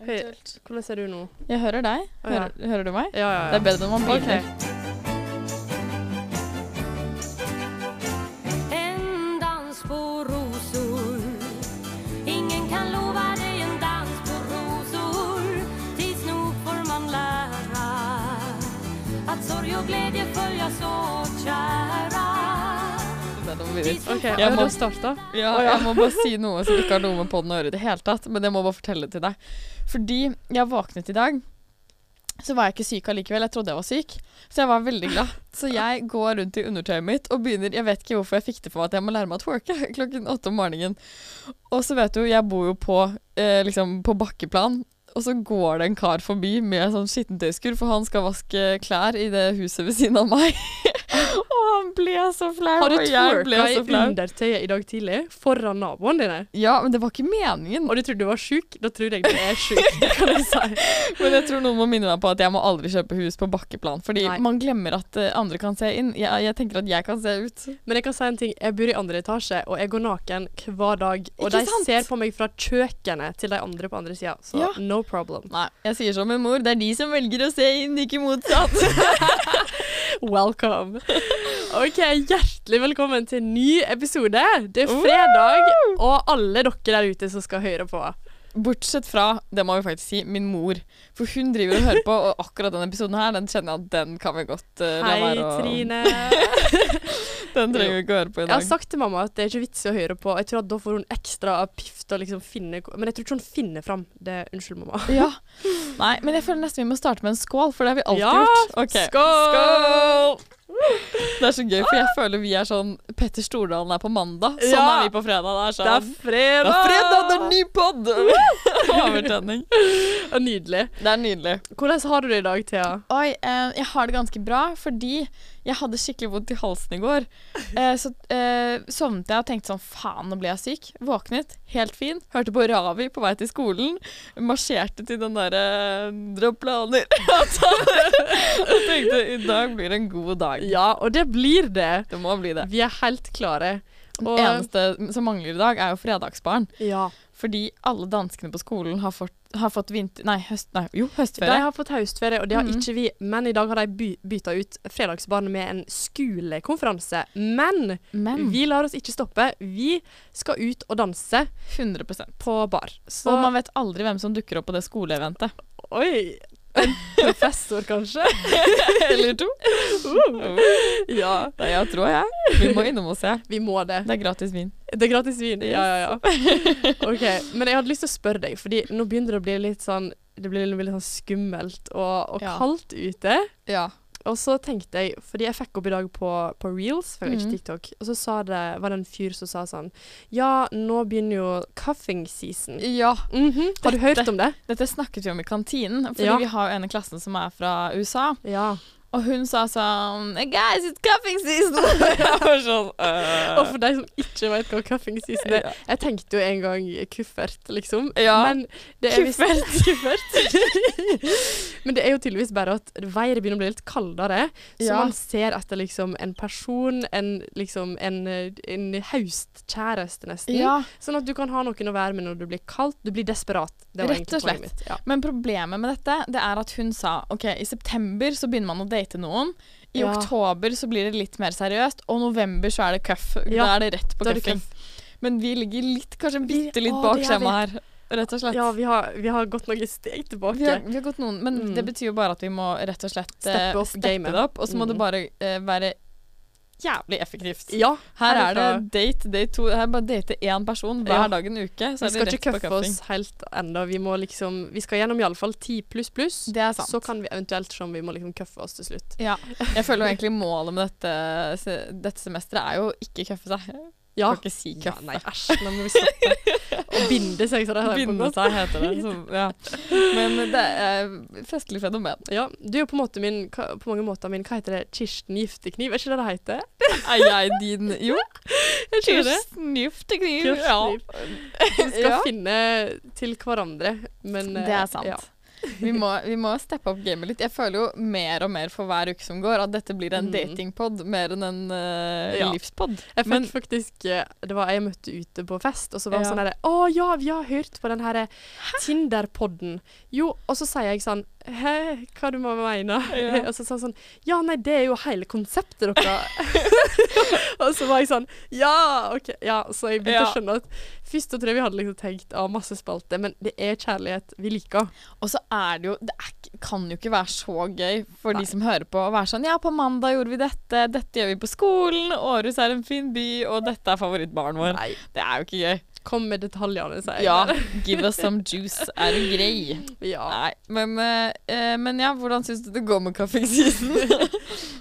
eventuelt. Hvordan ser du nå? Jeg hører deg. Å, ja. Hører, hører du meg? Ja, ja, Det er bedre når man Ok. begynner. En dans på rosor Ingen kan lova dig en dans på rosor Tids nog får man lära Att sorg och glädje följas åt kära Det er bedre når man begynner. Ok, Jeg har må- du starta? Ja, jeg må bare si noe som ikke har noe med podden å gjøre i det hele tatt, men jeg må bare fortelle det til deg. Fordi jeg våknet i dag, så var jeg ikke syk allikevel. Jeg trodde jeg var syk, så jeg var veldig glad. Så jeg går rundt i undertøyet mitt og begynner Jeg vet ikke hvorfor jeg fikk det for meg at jeg må lære meg å twerke klokken åtte om morgenen. Og så vet du, jeg bor jo på, eh, liksom på bakkeplan. Og så går det en kar forbi med sånn skittentøyskur, for han skal vaske klær i det huset ved siden av meg. og han ble så flau. Har du og jeg ble twerka i så flau. undertøyet i dag tidlig foran naboene dine? Ja, men det var ikke meningen. Og de trodde du var sjuk? Da tror jeg du er sjuk. Det kan jeg si. Men jeg tror noen må minne meg på at jeg må aldri kjøpe hus på bakkeplan. Fordi Nei. man glemmer at eh, andre kan se inn. Jeg, jeg tenker at jeg kan se ut. Men jeg kan si en ting. Jeg bor i andre etasje, og jeg går naken hver dag. Og Ikke de sant? ser på meg fra kjøkkenet til de andre på andre sida, så Ja. no problem. Nei, jeg sier som min mor. Det er de som velger å se inn, ikke motsatt. Welcome. OK, hjertelig velkommen til en ny episode. Det er fredag, og alle dere der ute som skal høre på. Bortsett fra, det må vi faktisk si, min mor. For hun driver og hører på, og akkurat denne episoden her, den kjenner jeg at den kan vi godt eh, la Hei, være å Trine. Den trenger vi ikke å høre på i Jeg har dag. sagt til mamma at det er ikke vits i å høre på. Jeg tror at Da får hun ekstra pift og liksom finne Men jeg tror ikke hun finner fram. Det, unnskyld, mamma. Ja. Nei, men jeg føler nesten vi må starte med en skål, for det har vi alltid Ja, gjort. Ok. Skål! Det er så gøy, for jeg føler vi er sånn Petter Stordalen er på mandag, sånn Ja. er vi på fredag. Det er Det er sånn fredag! Det er fredag, det er ny pod! Overtenning. Og Nydelig. Det er nydelig. Hvordan har du det i dag, Thea? Oi, eh, jeg har det ganske bra fordi jeg hadde skikkelig vondt i halsen i går. Eh, så eh, sovnet jeg og tenkte sånn faen, nå ble jeg syk. Våknet, helt fin. Hørte på Ravi på vei til skolen. Marsjerte til den derre Dra planer. og tenkte i dag blir en god dag. Ja, og det blir det. Det må bli det. Vi er helt klare. Det Og, eh, eneste som mangler i dag, er jo fredagsbarn. ja. Fordi alle danskene på skolen har fått, har fått vinter... Nei, høst, nei, jo, De høstferie. har fått høstferie, og det har Mhm. ikke vi. Men i dag har de by bytta ut fredagsbarn med en skolekonferanse. Men Men vi lar oss ikke stoppe. Vi skal ut og danse 100 på bar. Så Og man vet aldri hvem som dukker opp på det skoleeventet. Oi! En professor, kanskje? Eller to. ja. Nei, jeg tror jeg. Vi må innom og se. Vi må det. Det er gratis vin. Det er gratis vin. Ja, ja, ja. Ok, Men jeg hadde lyst til å spørre deg, fordi nå begynner det å bli litt sånn det blir litt sånn skummelt og, og Ja. kaldt ute. Ja. Og så tenkte jeg, fordi jeg fikk opp i dag på, på Reels, for jeg har Mhm. ikke TikTok, og så sa det, var det en fyr som sa sånn Ja, nå begynner jo cuffing season. Mhm, Har du hørt om det? Dette snakket vi om i kantinen, fordi Ja. vi har jo en i klassen som er fra USA. Ja. Og hun sa sånn Guys, it's cuffing season! jeg var sånn Og øh. for de som ikke vet hva cuffing season er Jeg tenkte jo en gang kuffert, liksom. Ja. Men det er visst- kuffert. Men det er jo tydeligvis bare at været begynner å bli litt kaldere, så Ja. man ser etter liksom en person, en, liksom en, eh, en haustkjæreste, nesten. Ja. Sånn at du kan ha noen å være med når det blir kaldt. Du blir desperat. Det var Rett egentlig og slett. poenget mitt. Ja. Men problemet med dette det er at hun sa ok, i september så begynner man å date noen. I Ja. oktober så blir det litt mer seriøst, og november så er det cuff. Da Ja, er det rett på da er det cuffing. Men vi ligger litt, kanskje Vi- bitte litt Å, bak det er vi. skjemaet her, rett og slett. Ja, vi har, vi har gått noen steg tilbake. Vi har, vi har gått noen, men Mm. det betyr jo bare at vi må rett og slett eh, Steppe opp gamet. det opp. Og så må Mm. det bare eh, være jævlig effektivt. Ja, Her her er det date, date to. Her bare date én person hver Ja. dag en uke. Så Vi er skal det ikke rett på køffe cuffing. oss helt ennå. Vi må liksom Vi skal gjennom iallfall 10 pluss pluss. Det er sant. Så kan vi eventuelt se om vi må liksom køffe oss til slutt. Ja. Jeg føler jo egentlig målet med dette, se- dette semesteret er jo å ikke køffe seg. Ja. Kan ikke si ja køffe. nei, æsj. Nå må vi stoppe. Å binde seg, så det er på en Binde måte. seg heter det. Så, ja. Men det er et festlig fenomen. Ja, du er jo på, en måte min, hva- på mange måter min Hva heter det? Kirsten Giftekniv? Er ikke det det heter? Er jeg din Jo, Jeg tror det. snifte kniv. Kirsten Ja. Gif. Vi skal Ja. finne til hverandre, men Det eh, er sant. Ja. Vi må, vi må steppe opp gamet litt. Jeg føler jo mer og mer for hver uke som går, at dette blir en Mm. datingpod mer enn en uh, Ja. livspod. Jeg fikk Men- faktisk eh, Det var jeg møtte ute på fest, og så var det Ja. sånn herre Å ja, vi har hørt på den herre Tinder-podden. Jo, og så sier jeg sånn Hæ, hva du må mene? Ja. og så sa han sånn Ja, nei, det er jo hele konseptet deres. og så var jeg sånn Ja, OK. Ja, så jeg begynte Ja. å skjønne at Først så tror jeg vi hadde liksom tenkt Å, masse spalte, men det er kjærlighet vi liker. Og så er det jo Det er, ikke- kan jo ikke være så gøy for Nei. de som hører på, å være sånn Ja, på mandag gjorde vi dette, dette gjør vi på skolen, Århus er en fin by, og dette er favorittbaren vår. Nei. Det er jo ikke gøy. Kom med detaljene, sier jeg. Ja, give us some juice. Er du grei? ja. Nei, men, eh, eh, men ja, hvordan syns du det går med cuffing season?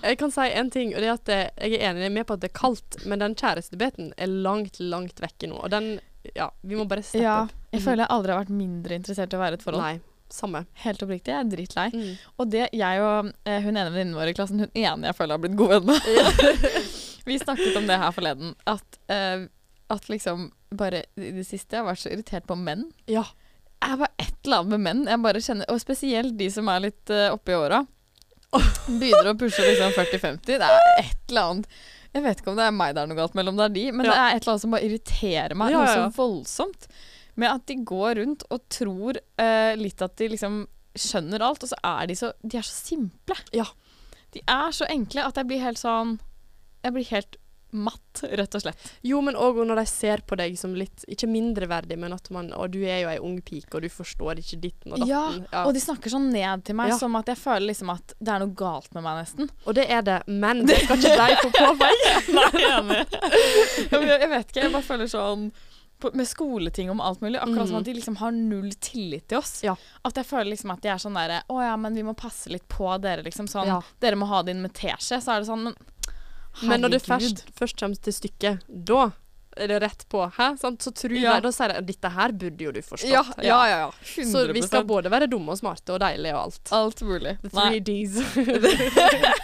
Jeg kan si en ting, og det er at eh, jeg er enig med på at det er kaldt, men den kjærestebeten er langt, langt vekke nå. Og den Ja, vi må bare steppe ja, opp. jeg føler jeg aldri har vært mindre interessert i å være i et forhold. Nei, samme. Helt oppriktig, jeg er drittlei. Mm. Og det jeg og eh, hun ene venninnen vår i klassen, hun ene jeg føler har blitt god venn med Vi snakket om det her forleden, at, eh, at liksom bare i det siste jeg har vært så irritert på menn. Ja. Jeg var et eller annet med menn, jeg bare kjenner, og spesielt de som er litt eh, oppe i åra. Begynner å pushe liksom 40-50. Det er et eller annet Jeg vet ikke om det er meg det er noe galt mellom, det er de, men Ja. det er et eller annet som bare irriterer meg Ja, ja, ja. noe så voldsomt. Med at de går rundt og tror eh, litt at de liksom skjønner alt, og så er de så De er så simple. Ja. De er så enkle at jeg blir helt sånn Jeg blir helt matt, rett og slett. Jo, men òg når de ser på deg som litt Ikke mindreverdig, men at man Å, du er jo ei ung pike, og du forstår ikke ditten og Ja, datten. Ja, Og de snakker sånn ned til meg Ja. som at jeg føler liksom at det er noe galt med meg, nesten. og det er det, men det skal ikke de få påveie. Nei, enig. jeg vet ikke, jeg bare føler sånn på- med skoleting om alt mulig. Akkurat som Mhm. at de liksom har null tillit til oss. Ja. At jeg føler liksom at de er sånn derre Å ja, men vi må passe litt på dere, liksom. Sånn Ja. Dere må ha det inn med teskje. Så er det sånn, men Men når det herregud. først, først kommer til stykket, da er det rett på. Hæ? Sant? Så tror Ja. de, da sier de dette her burde jo du forstått. Ja, ja, ja. ja. 100 Så vi skal både være dumme og smarte og deilige og alt. Alt mulig. The Nei. three D's.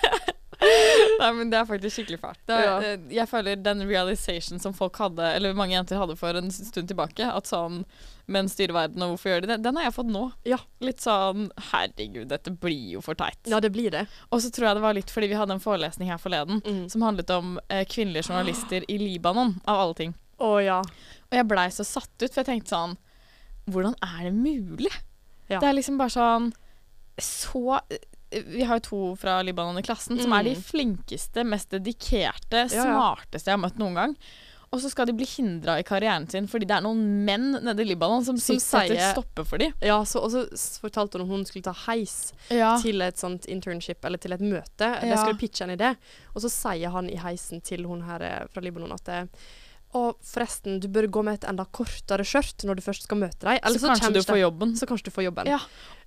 Nei, men det er faktisk skikkelig fælt. Det, Ja. eh, Jeg føler den realization som folk hadde, eller mange jenter hadde for en stund tilbake, at sånn menn styrer verden, og hvorfor gjør de det? Den har jeg fått nå. Ja. Litt sånn herregud, dette blir jo for teit. ja, det blir det. Og så tror jeg det var litt fordi vi hadde en forelesning her forleden Mm. som handlet om eh, kvinnelige journalister i Libanon, av alle ting. Å ja. Og jeg blei så satt ut, for jeg tenkte sånn Hvordan er det mulig? Ja. Det er liksom bare sånn Så Vi har jo to fra Libanon i klassen som Mm. er de flinkeste, mest dedikerte, Ja, ja. smarteste jeg har møtt noen gang. Og så skal de bli hindra i karrieren sin fordi det er noen menn nede i Libanon som, Som som setter sier- stopper for dem. ja så, og så s- fortalte hun om hun skulle ta heis Ja. til et sånt internship, eller til et møte. De Ja. skulle pitche en idé, og så sier han i heisen til hun her eh, fra Libanon at eh, og forresten, du bør gå med et enda kortere skjørt når du først skal møte dem. Eller Så, så, kanskje kommer du får jobben. Så kanskje du får jobben. Ja.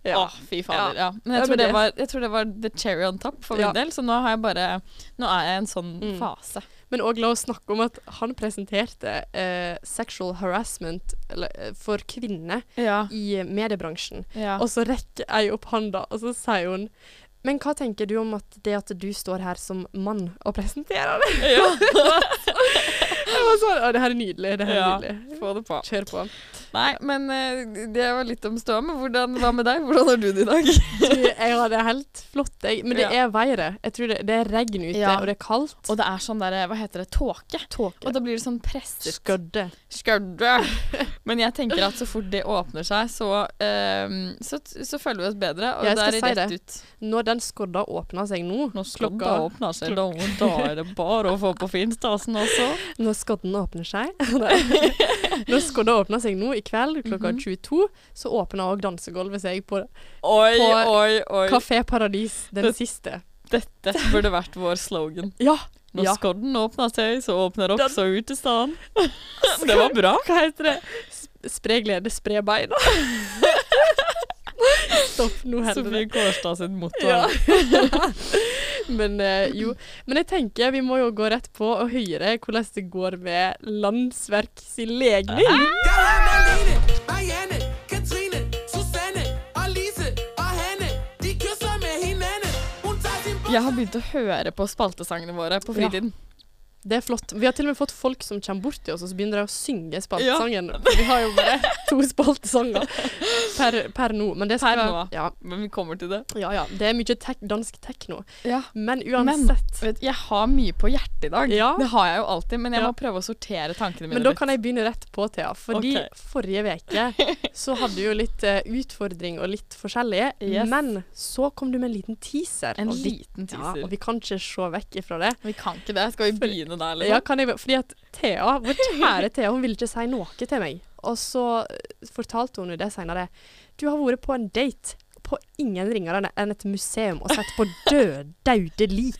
Ja. Å, fy fader. Ja. Men Ja, jeg tror, men det det- var, jeg tror det var the cherry on top for min Ja. del, så nå, har jeg bare, nå er jeg i en sånn Mm. fase. Men òg la oss snakke om at han presenterte eh, sexual harassment eller, eh, for kvinner Ja. i mediebransjen. ja. Og så rekker jeg opp handa, og så sier hun Men hva tenker du om at det at du står her som mann og presenterer det? Jeg var sånn, Å, det her er nydelig. Det her er Ja. nydelig. Få det på. Kjør på. Nei, men eh, det var litt om ståa, men hvordan, hva med deg? Hvordan har du det i dag? Du, jeg har det helt flott, jeg. Men det er været. Jeg tror det, det er regn ute, Ja. og det er kaldt. Og det er sånn der, hva heter det, tåke. Og tåke. da blir det sånn presset. Skødde. Skødde. Men jeg tenker at så fort det åpner seg, så, eh, så, så føler vi oss bedre. Og Jeg skal da er det si rett det. ut. Når den skodda åpner seg nå Når klokka- klokka åpner seg, da, da er det bare å få på finstasen også. Når skodden åpner seg Nei. Når skodda åpner seg nå i kveld klokka 22, så åpner òg dansegulvet seg på Oi, På oi, oi. Kafé Paradis den Det- siste. Dette burde vært vår slogan. Ja! Når Ja. skodden åpner seg, så åpner Den- også utestaden. Det var bra. Hva heter det? Sp- Spre glede, spre beina. Stopp nå, Sofie helvete. Kårstad sitt motto. Ja. Men eh, jo. Men jeg tenker vi må jo gå rett på og høre hvordan det går med Landsverk sin legning. Der er Malene, Marianne, Katrine, Susanne og Lise og Hanne. De kysser med hinanden. Hun tager sin Jeg har begynt å høre på spaltesangene våre på fritiden. Det er flott. Vi har til og med fått folk som kommer bort til oss, og så begynner de å synge Ja. spaltesangen. For Vi har jo bare to spaltesanger per, per nå. Men det skal Per være- nå. Ja, Men vi kommer til det. ja, ja. Det er mye tek dansk tekno. Ja. Men uansett. Vet, jeg har mye på hjertet i dag. Ja. Det har jeg jo alltid, men jeg Ja. må prøve å sortere tankene mine Men da litt. kan jeg begynne rett på, Thea. Fordi Ok. forrige uke så hadde vi jo litt eh, utfordring og litt forskjellig. Yes. Men så kom du med en liten teaser. En og vi- liten Ja, teaser. og vi vi, kan ikke se vekk ifra det. kan ikke det. Skal vi begynne der, liksom? eller? Ja, kan jeg, fordi at Thea, vår kjære Thea, hun ville ikke si noe til meg. Og så eh, fortalte hun jo det senere. Du har vært på en date på ingen ringere enn et museum og sett på død, daude lik.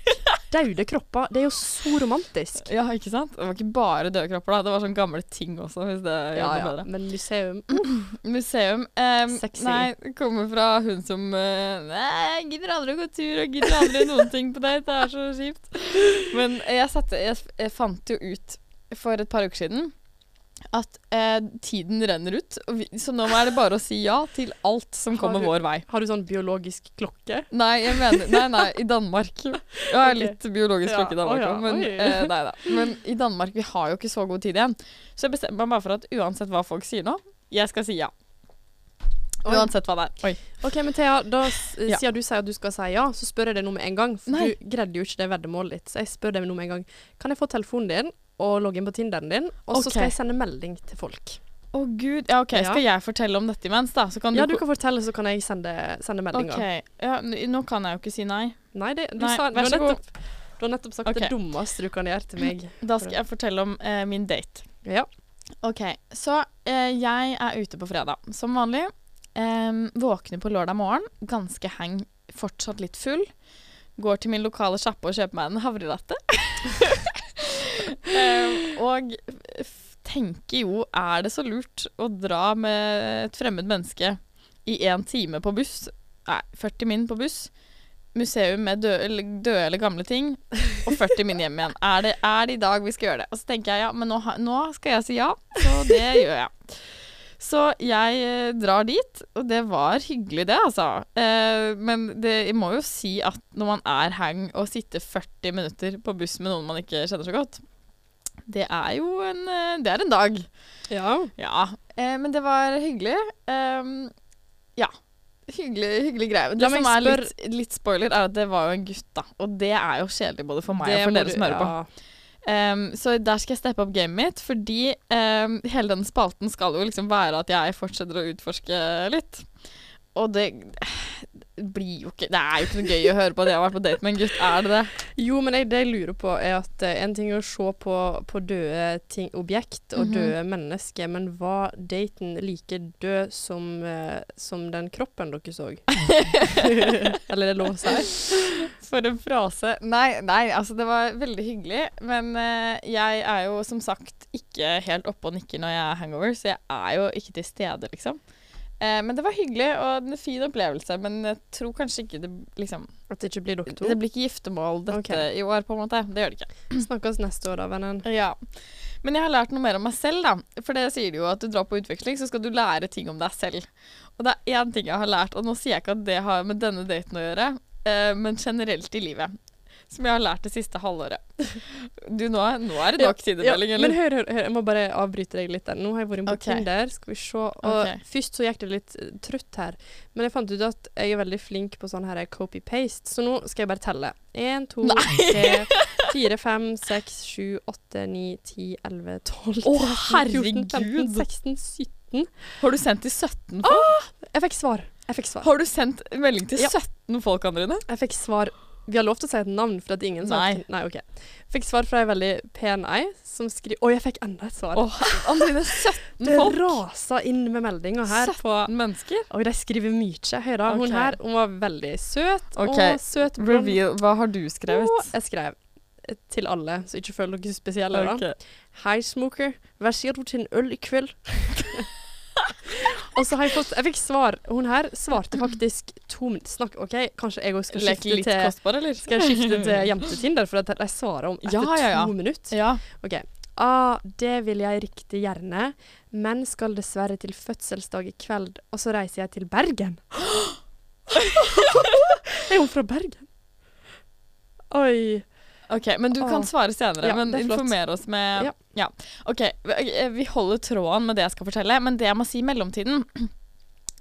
Daude kropper. Det er jo så romantisk. Ja, ikke sant? Det var ikke bare døde kropper, da. Det var sånn gamle ting også, hvis det gjør Ja, det ja. bedre. Men museum Museum. Um, Sexy. Nei, det kommer fra hun som eh, Nei, jeg gidder aldri å gå tur og gidder aldri noen ting på date. Det er så kjipt. Men jeg, satte, jeg, jeg fant jo ut for et par uker siden at eh, tiden renner ut, og vi, så nå er det bare å si ja til alt som Har kommer du- vår vei. Har du sånn biologisk klokke? Nei, jeg mener Nei, nei, i Danmark. Jeg har Ok. litt biologisk klokke i Ja, Danmark å ja, også, men, oi. eh, nei, da. men i Danmark vi har jo ikke så god tid igjen. Så jeg bestemmer meg bare for at uansett hva folk sier nå, jeg skal si ja. Oi. Uansett hva det er. Oi. OK, men Thea, da, s- Ja. siden du sier at du skal si ja, så spør jeg deg nå med en gang. For Nei. du greide jo ikke det veddemålet ditt, så jeg spør deg nå med en gang. Kan jeg få telefonen din og logge inn på Tinderen din, og Ok. så skal jeg sende melding til folk? Å gud. Ja, OK, Ja. skal jeg fortelle om dette imens, da? Så kan du Ja, du kan fortelle, så kan jeg sende, sende meldinga. OK. Ja, n- nå kan jeg jo ikke si nei. Nei, det, du, Nei, sa, du, vær har så god. nettopp, du har nettopp sagt Ok. det dummeste du kan gjøre til meg. Da skal jeg fortelle om eh, min date. Ja. OK, så eh, jeg er ute på fredag, som vanlig. Em, våkner på lørdag morgen, ganske heng, fortsatt litt full. Går til min lokale sjappe og kjøper meg en havrelatte. Em, og f- tenker jo, er det så lurt å dra med et fremmed menneske i én time på buss? Nei, 40 min på buss. Museum med døde eller, døde eller gamle ting og 40 min hjem igjen. Er det, er det i dag vi skal gjøre det? Og så tenker jeg ja, men nå, ha- nå skal jeg si ja, så det gjør jeg. Så jeg eh, drar dit, og det var hyggelig det, altså. Eh, men det, jeg må jo si at når man er hang og sitter 40 minutter på buss med noen man ikke kjenner så godt, det er jo en, eh, det er en dag. Ja. Ja, eh, men det var hyggelig. Ehm, ja. Hyggelig, hyggelig greie. Det La meg som er spør- litt, litt spoiler, er at det var jo en gutt, da. Og det er jo kjedelig både for meg og for dere som hører på. Ehm, så der skal jeg steppe opp gamet mitt, fordi ehm, hele den spalten skal jo liksom være at jeg fortsetter å utforske litt. Og det blir jo ikke Det er jo ikke noe gøy å høre på at jeg har vært på date med en gutt, er det det? Jo, men jeg, det jeg lurer på, er at eh, en ting er å se på, på døde ting, objekt og Mhm. døde mennesker, men var daten like død som, eh, som den kroppen dere så? Eller det er lov å si? For en frase. Nei, nei, altså det var veldig hyggelig. Men eh, jeg er jo som sagt ikke helt oppe og nikker når jeg er hangover, så jeg er jo ikke til stede, liksom. Eh, men det var hyggelig og en fin opplevelse, men jeg tror kanskje ikke det liksom At det ikke blir dere to? Det blir ikke giftermål dette Ok. i år, på en måte. Det gjør det ikke. Snakkes neste år, da, vennen. Ja. Men jeg har lært noe mer om meg selv, da. For det sier de jo at du drar på utveksling, så skal du lære ting om deg selv. Og det er én ting jeg har lært, og nå sier jeg ikke at det har med denne daten å gjøre, eh, men generelt i livet. Som jeg har lært det siste halvåret. Du, nå, er- nå er det nok tidemelding, men eller? hør, hør, hør, jeg må bare avbryte deg litt der. Nå har jeg vært inne på Ok. Tinder, skal vi se. Og Ok. først så gikk det litt eh, trøtt her, men jeg fant ut at jeg er veldig flink på sånn her copy-paste, så nå skal jeg bare telle. Én, to, tre, fire, fem, seks, sju, åtte, ni, ti, elleve, tolv, Å, fjorten, femten, herregud. seksten, sytten. Har du sendt til 17 folk? Jeg fikk svar. Jeg fikk svar. Har du sendt melding til Ja. 17 folk, Andrine? Jeg fikk svar Vi har lov til å si et navn, for det er ingen som Nei. Nei, OK. Fikk svar fra ei veldig pen ei som skriver Å, jeg fikk enda et svar. Å, her- Andrine, 17 det folk? rasa inn med meldinger her på 17 mennesker? Og de skriver mye. Hør da, Ok. hun her hun var veldig søt. Ok, Og søt blond. Reveal, hva har du Og skrevet? jeg skrev eh, til alle, så ikke føl dere spesielle. da. Ok. Hei, smoker. Hva sier du til en øl i kveld? og så har jeg fått Jeg fikk svar. Hun her svarte faktisk to min- Snakk, OK, kanskje jeg òg skal Lek skifte litt til kostbar, eller? eh, skal jeg skifte til jentetinder, for at de svarer om etter Ja, ja, ja. to minutter. Ja. OK. Ah, det vil jeg riktig gjerne, men skal dessverre til fødselsdag i kveld, og så reiser jeg til Bergen. er hun fra Bergen? Oi. Ok, Men du kan Åh. svare senere. Ja, men det er flott. informer oss med Ja. ja. OK, vi- eh, vi holder tråden med det jeg skal fortelle, men det jeg må si i mellomtiden,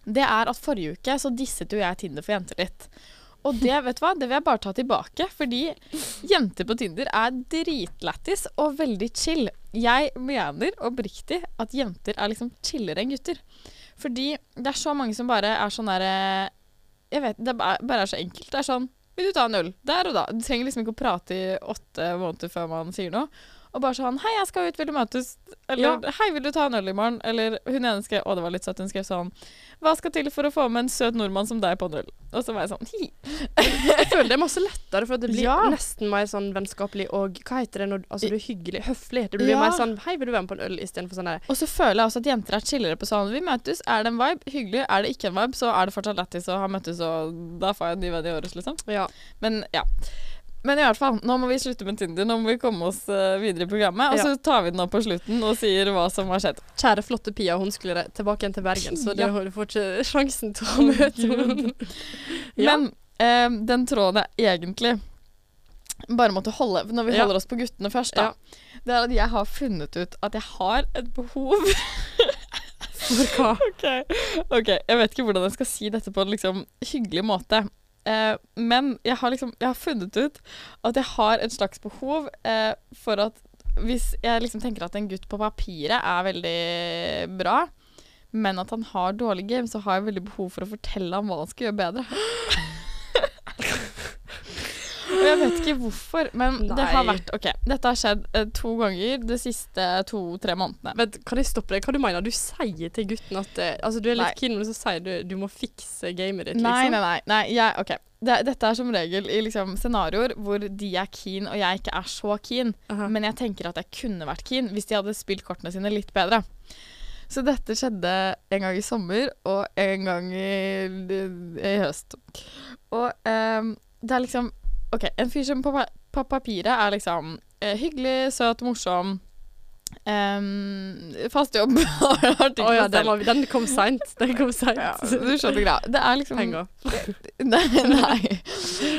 det er at forrige uke så disset jo jeg Tinder for jenter litt. Og det vet du hva, det vil jeg bare ta tilbake, fordi jenter på Tinder er dritlættis og veldig chill. Jeg mener oppriktig at jenter er liksom chillere enn gutter. Fordi det er så mange som bare er sånn derre Jeg vet, det er bare bare er så enkelt. Det er sånn Vil du ta en øl? Der og da. Du trenger liksom ikke å prate i åtte måneder før man sier noe. Og bare sånn Hei, jeg skal ut, vil du møtes? Eller Hei, vil du ta en øl i morgen? Eller hun ene skrev Å, det var litt søtt. Hun skrev sånn Hva skal til for å få med en søt nordmann som deg på en øl? Og så var jeg sånn Hi. Jeg føler det er masse lettere, for det blir Ja. nesten mer sånn vennskapelig og Hva heter det når du- altså, du er hyggelig? Høflig. Det blir Ja. mer sånn Hei, vil du være med på en øl? Istedenfor sånn der Og så føler jeg også at jenter er chillere på sånn Vi møtes, er det en vibe? Hyggelig. Er det ikke en vibe, så er det fortsatt lættis å ha møttes, og da får jeg en ny venn i året, liksom. Ja. Men ja. Men i hvert fall, nå må vi slutte med Tinder. Nå må vi komme oss eh, videre i programmet. Og Ja. så tar vi den opp på slutten og sier hva som har skjedd. Kjære flotte Pia, hun skulle re- tilbake igjen til Bergen, så det, Ja. du får ikke sjansen til å møte henne. Ja. Men eh, den tråden jeg egentlig bare måtte holde Når vi Ja. holder oss på guttene først, da. Det er at jeg har funnet ut at jeg har et behov For hva? Ok. ok, jeg vet ikke hvordan jeg skal si dette på en liksom hyggelig måte. Eh, men jeg har liksom jeg har funnet ut at jeg har et slags behov eh, for at Hvis jeg liksom tenker at en gutt på papiret er veldig bra, men at han har dårlig game, så har jeg veldig behov for å fortelle ham hva han skal gjøre bedre. Og jeg vet ikke hvorfor, men det har Nei. vært OK, dette har skjedd eh, to ganger de siste to-tre månedene. Vent, kan jeg stoppe deg? Hva du mener du? Du sier til gutten at eh, Altså, du er Nei. litt keen, men så sier du du må fikse gamet ditt, liksom. Nei, nei, nei. nei jeg, ok. det, dette er som regel i liksom, scenarioer hvor de er keen og jeg ikke er så keen. Aha. Men jeg tenker at jeg kunne vært keen hvis de hadde spilt kortene sine litt bedre. Så dette skjedde en gang i sommer og en gang i, i høst. Og ehm, det er liksom OK, en fyr som på, pa- på papiret er liksom eh, hyggelig, søt, morsom. ehm, fast jobb. Å ja, den, var, den kom seint. Den kom seint. ja, du skjønner greia. Det er liksom Heng opp. Nei, nei.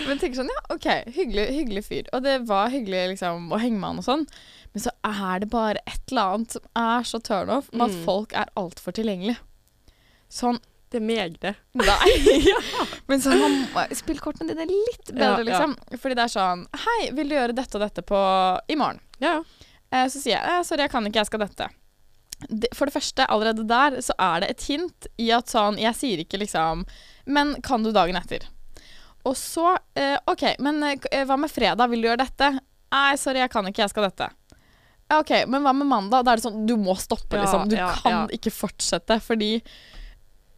Men tenker sånn, ja, OK, hyggelig, hyggelig fyr. Og det var hyggelig liksom, å henge med han og sånn. Men så er det bare et eller annet som er så turnoff med at Mm. folk er altfor tilgjengelige. Sånn Det er meg, det. Nei. Men sånn, han må- spill kortene dine Ja, litt bedre, ja. liksom. Fordi det er sånn Hei, vil du gjøre dette og dette på i morgen? Ja, ja. Eh, Så sier jeg eh, sorry, jeg kan ikke, jeg skal dette. Det- For det første, allerede der så er det et hint i at sånn Jeg sier ikke liksom Men kan du dagen etter? Og så eh, OK, men eh, k- eh, hva med fredag? Vil du gjøre dette? Nei, sorry, jeg kan ikke, jeg skal dette. Ja, OK, men hva med mandag? Da er det sånn Du må stoppe, Ja, liksom. Du ja, kan ja. ikke fortsette, fordi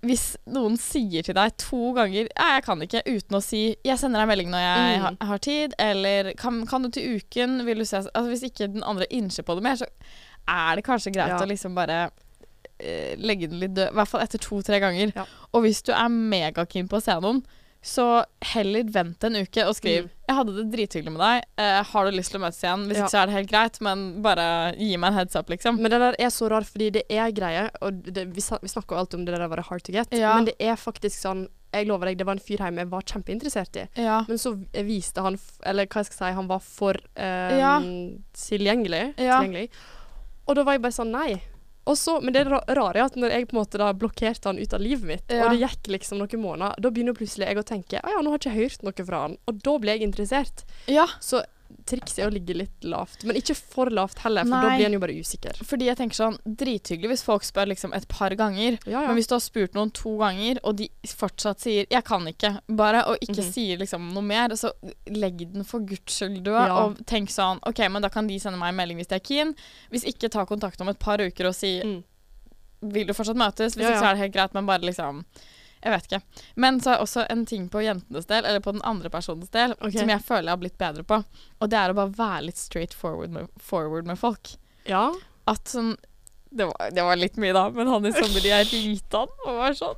hvis noen sier til deg to ganger «Nei, 'jeg kan ikke', uten å si 'jeg sender deg melding når jeg Mm. har, har tid', eller kan, 'kan du til uken', vil du ses altså, Hvis ikke den andre innser på det mer, så er det kanskje greit Ja. å liksom bare eh, legge den litt død. I hvert fall etter to-tre ganger. Ja. Og hvis du er megakeen på å se noen, så heller vent en uke og skriv Mm. 'Jeg hadde det drithyggelig med deg. Eh, har du lyst til å møtes igjen?' Hvis Ja. ikke så er det helt greit, men bare gi meg en heads up, liksom. Men den der er så rar, fordi det er greier, og det, vi, sa- vi snakker jo alt om det der å være hard to get, Ja. men det er faktisk sånn Jeg lover deg, det var en fyr hjemme jeg var kjempeinteressert i, Ja. men så viste han f- Eller hva jeg skal si, han var for eh, Ja. tilgjengelig, Ja. tilgjengelig. Og da var jeg bare sånn nei. Og så, men det ra- rare er at når jeg på en måte da blokkerte han ut av livet mitt, Ja. og det gikk liksom noen måneder, da begynner plutselig jeg å tenke at ja, nå har jeg ikke hørt noe fra han, og da blir jeg interessert. ja. Så trikset er å ligge litt lavt, men ikke for lavt heller, for da Nei. blir en jo bare usikker. Fordi jeg tenker sånn, drithyggelig hvis folk spør liksom et par ganger. Ja, Men hvis du har spurt noen to ganger, og de fortsatt sier 'jeg kan ikke', bare, og ikke Mhm. sier liksom noe mer, så legg den for guds skyld død, Ja. og tenk sånn 'OK, men da kan de sende meg en melding hvis de er keen'. Hvis ikke, ta kontakt om et par uker og si Mm. 'vil du fortsatt møtes'? Hvis Ja, ikke, ja. så er det helt greit, men bare liksom jeg vet ikke. Men så er også en ting på jentenes del, eller på den andre personens del, Ok. som jeg føler jeg har blitt bedre på. Og det er å bare være litt straight forward med, forward med folk. Ja. at sånn det var, det var litt mye, da, men han i sommer jeg ringte han og var sånn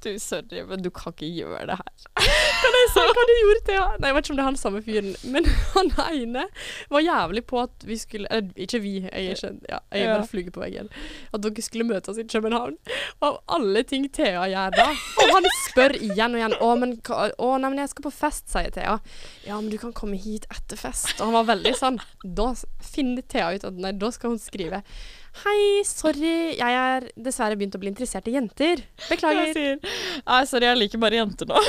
Du, sorry, men du kan ikke gjøre det her. jeg si hva du gjorde, Thea? Nei, jeg vet ikke om det er han samme fyren, men han ene var jævlig på at vi skulle Eller ikke vi, jeg er, ikke, ja, jeg er Ja. bare flue på veggen. At dere skulle møtes i København. Og av alle ting Thea gjør da Og han spør igjen og igjen. Å, men, hva- å, nei, men jeg skal på fest, sier Thea. Ja, men du kan komme hit etter fest. Og han var veldig sånn Da s- finner Thea ut at nei, da skal hun skrive. Hei, sorry, jeg er dessverre begynt å bli interessert i jenter. Jeg Beklager. sier Nei, sorry, jeg liker bare jenter nå.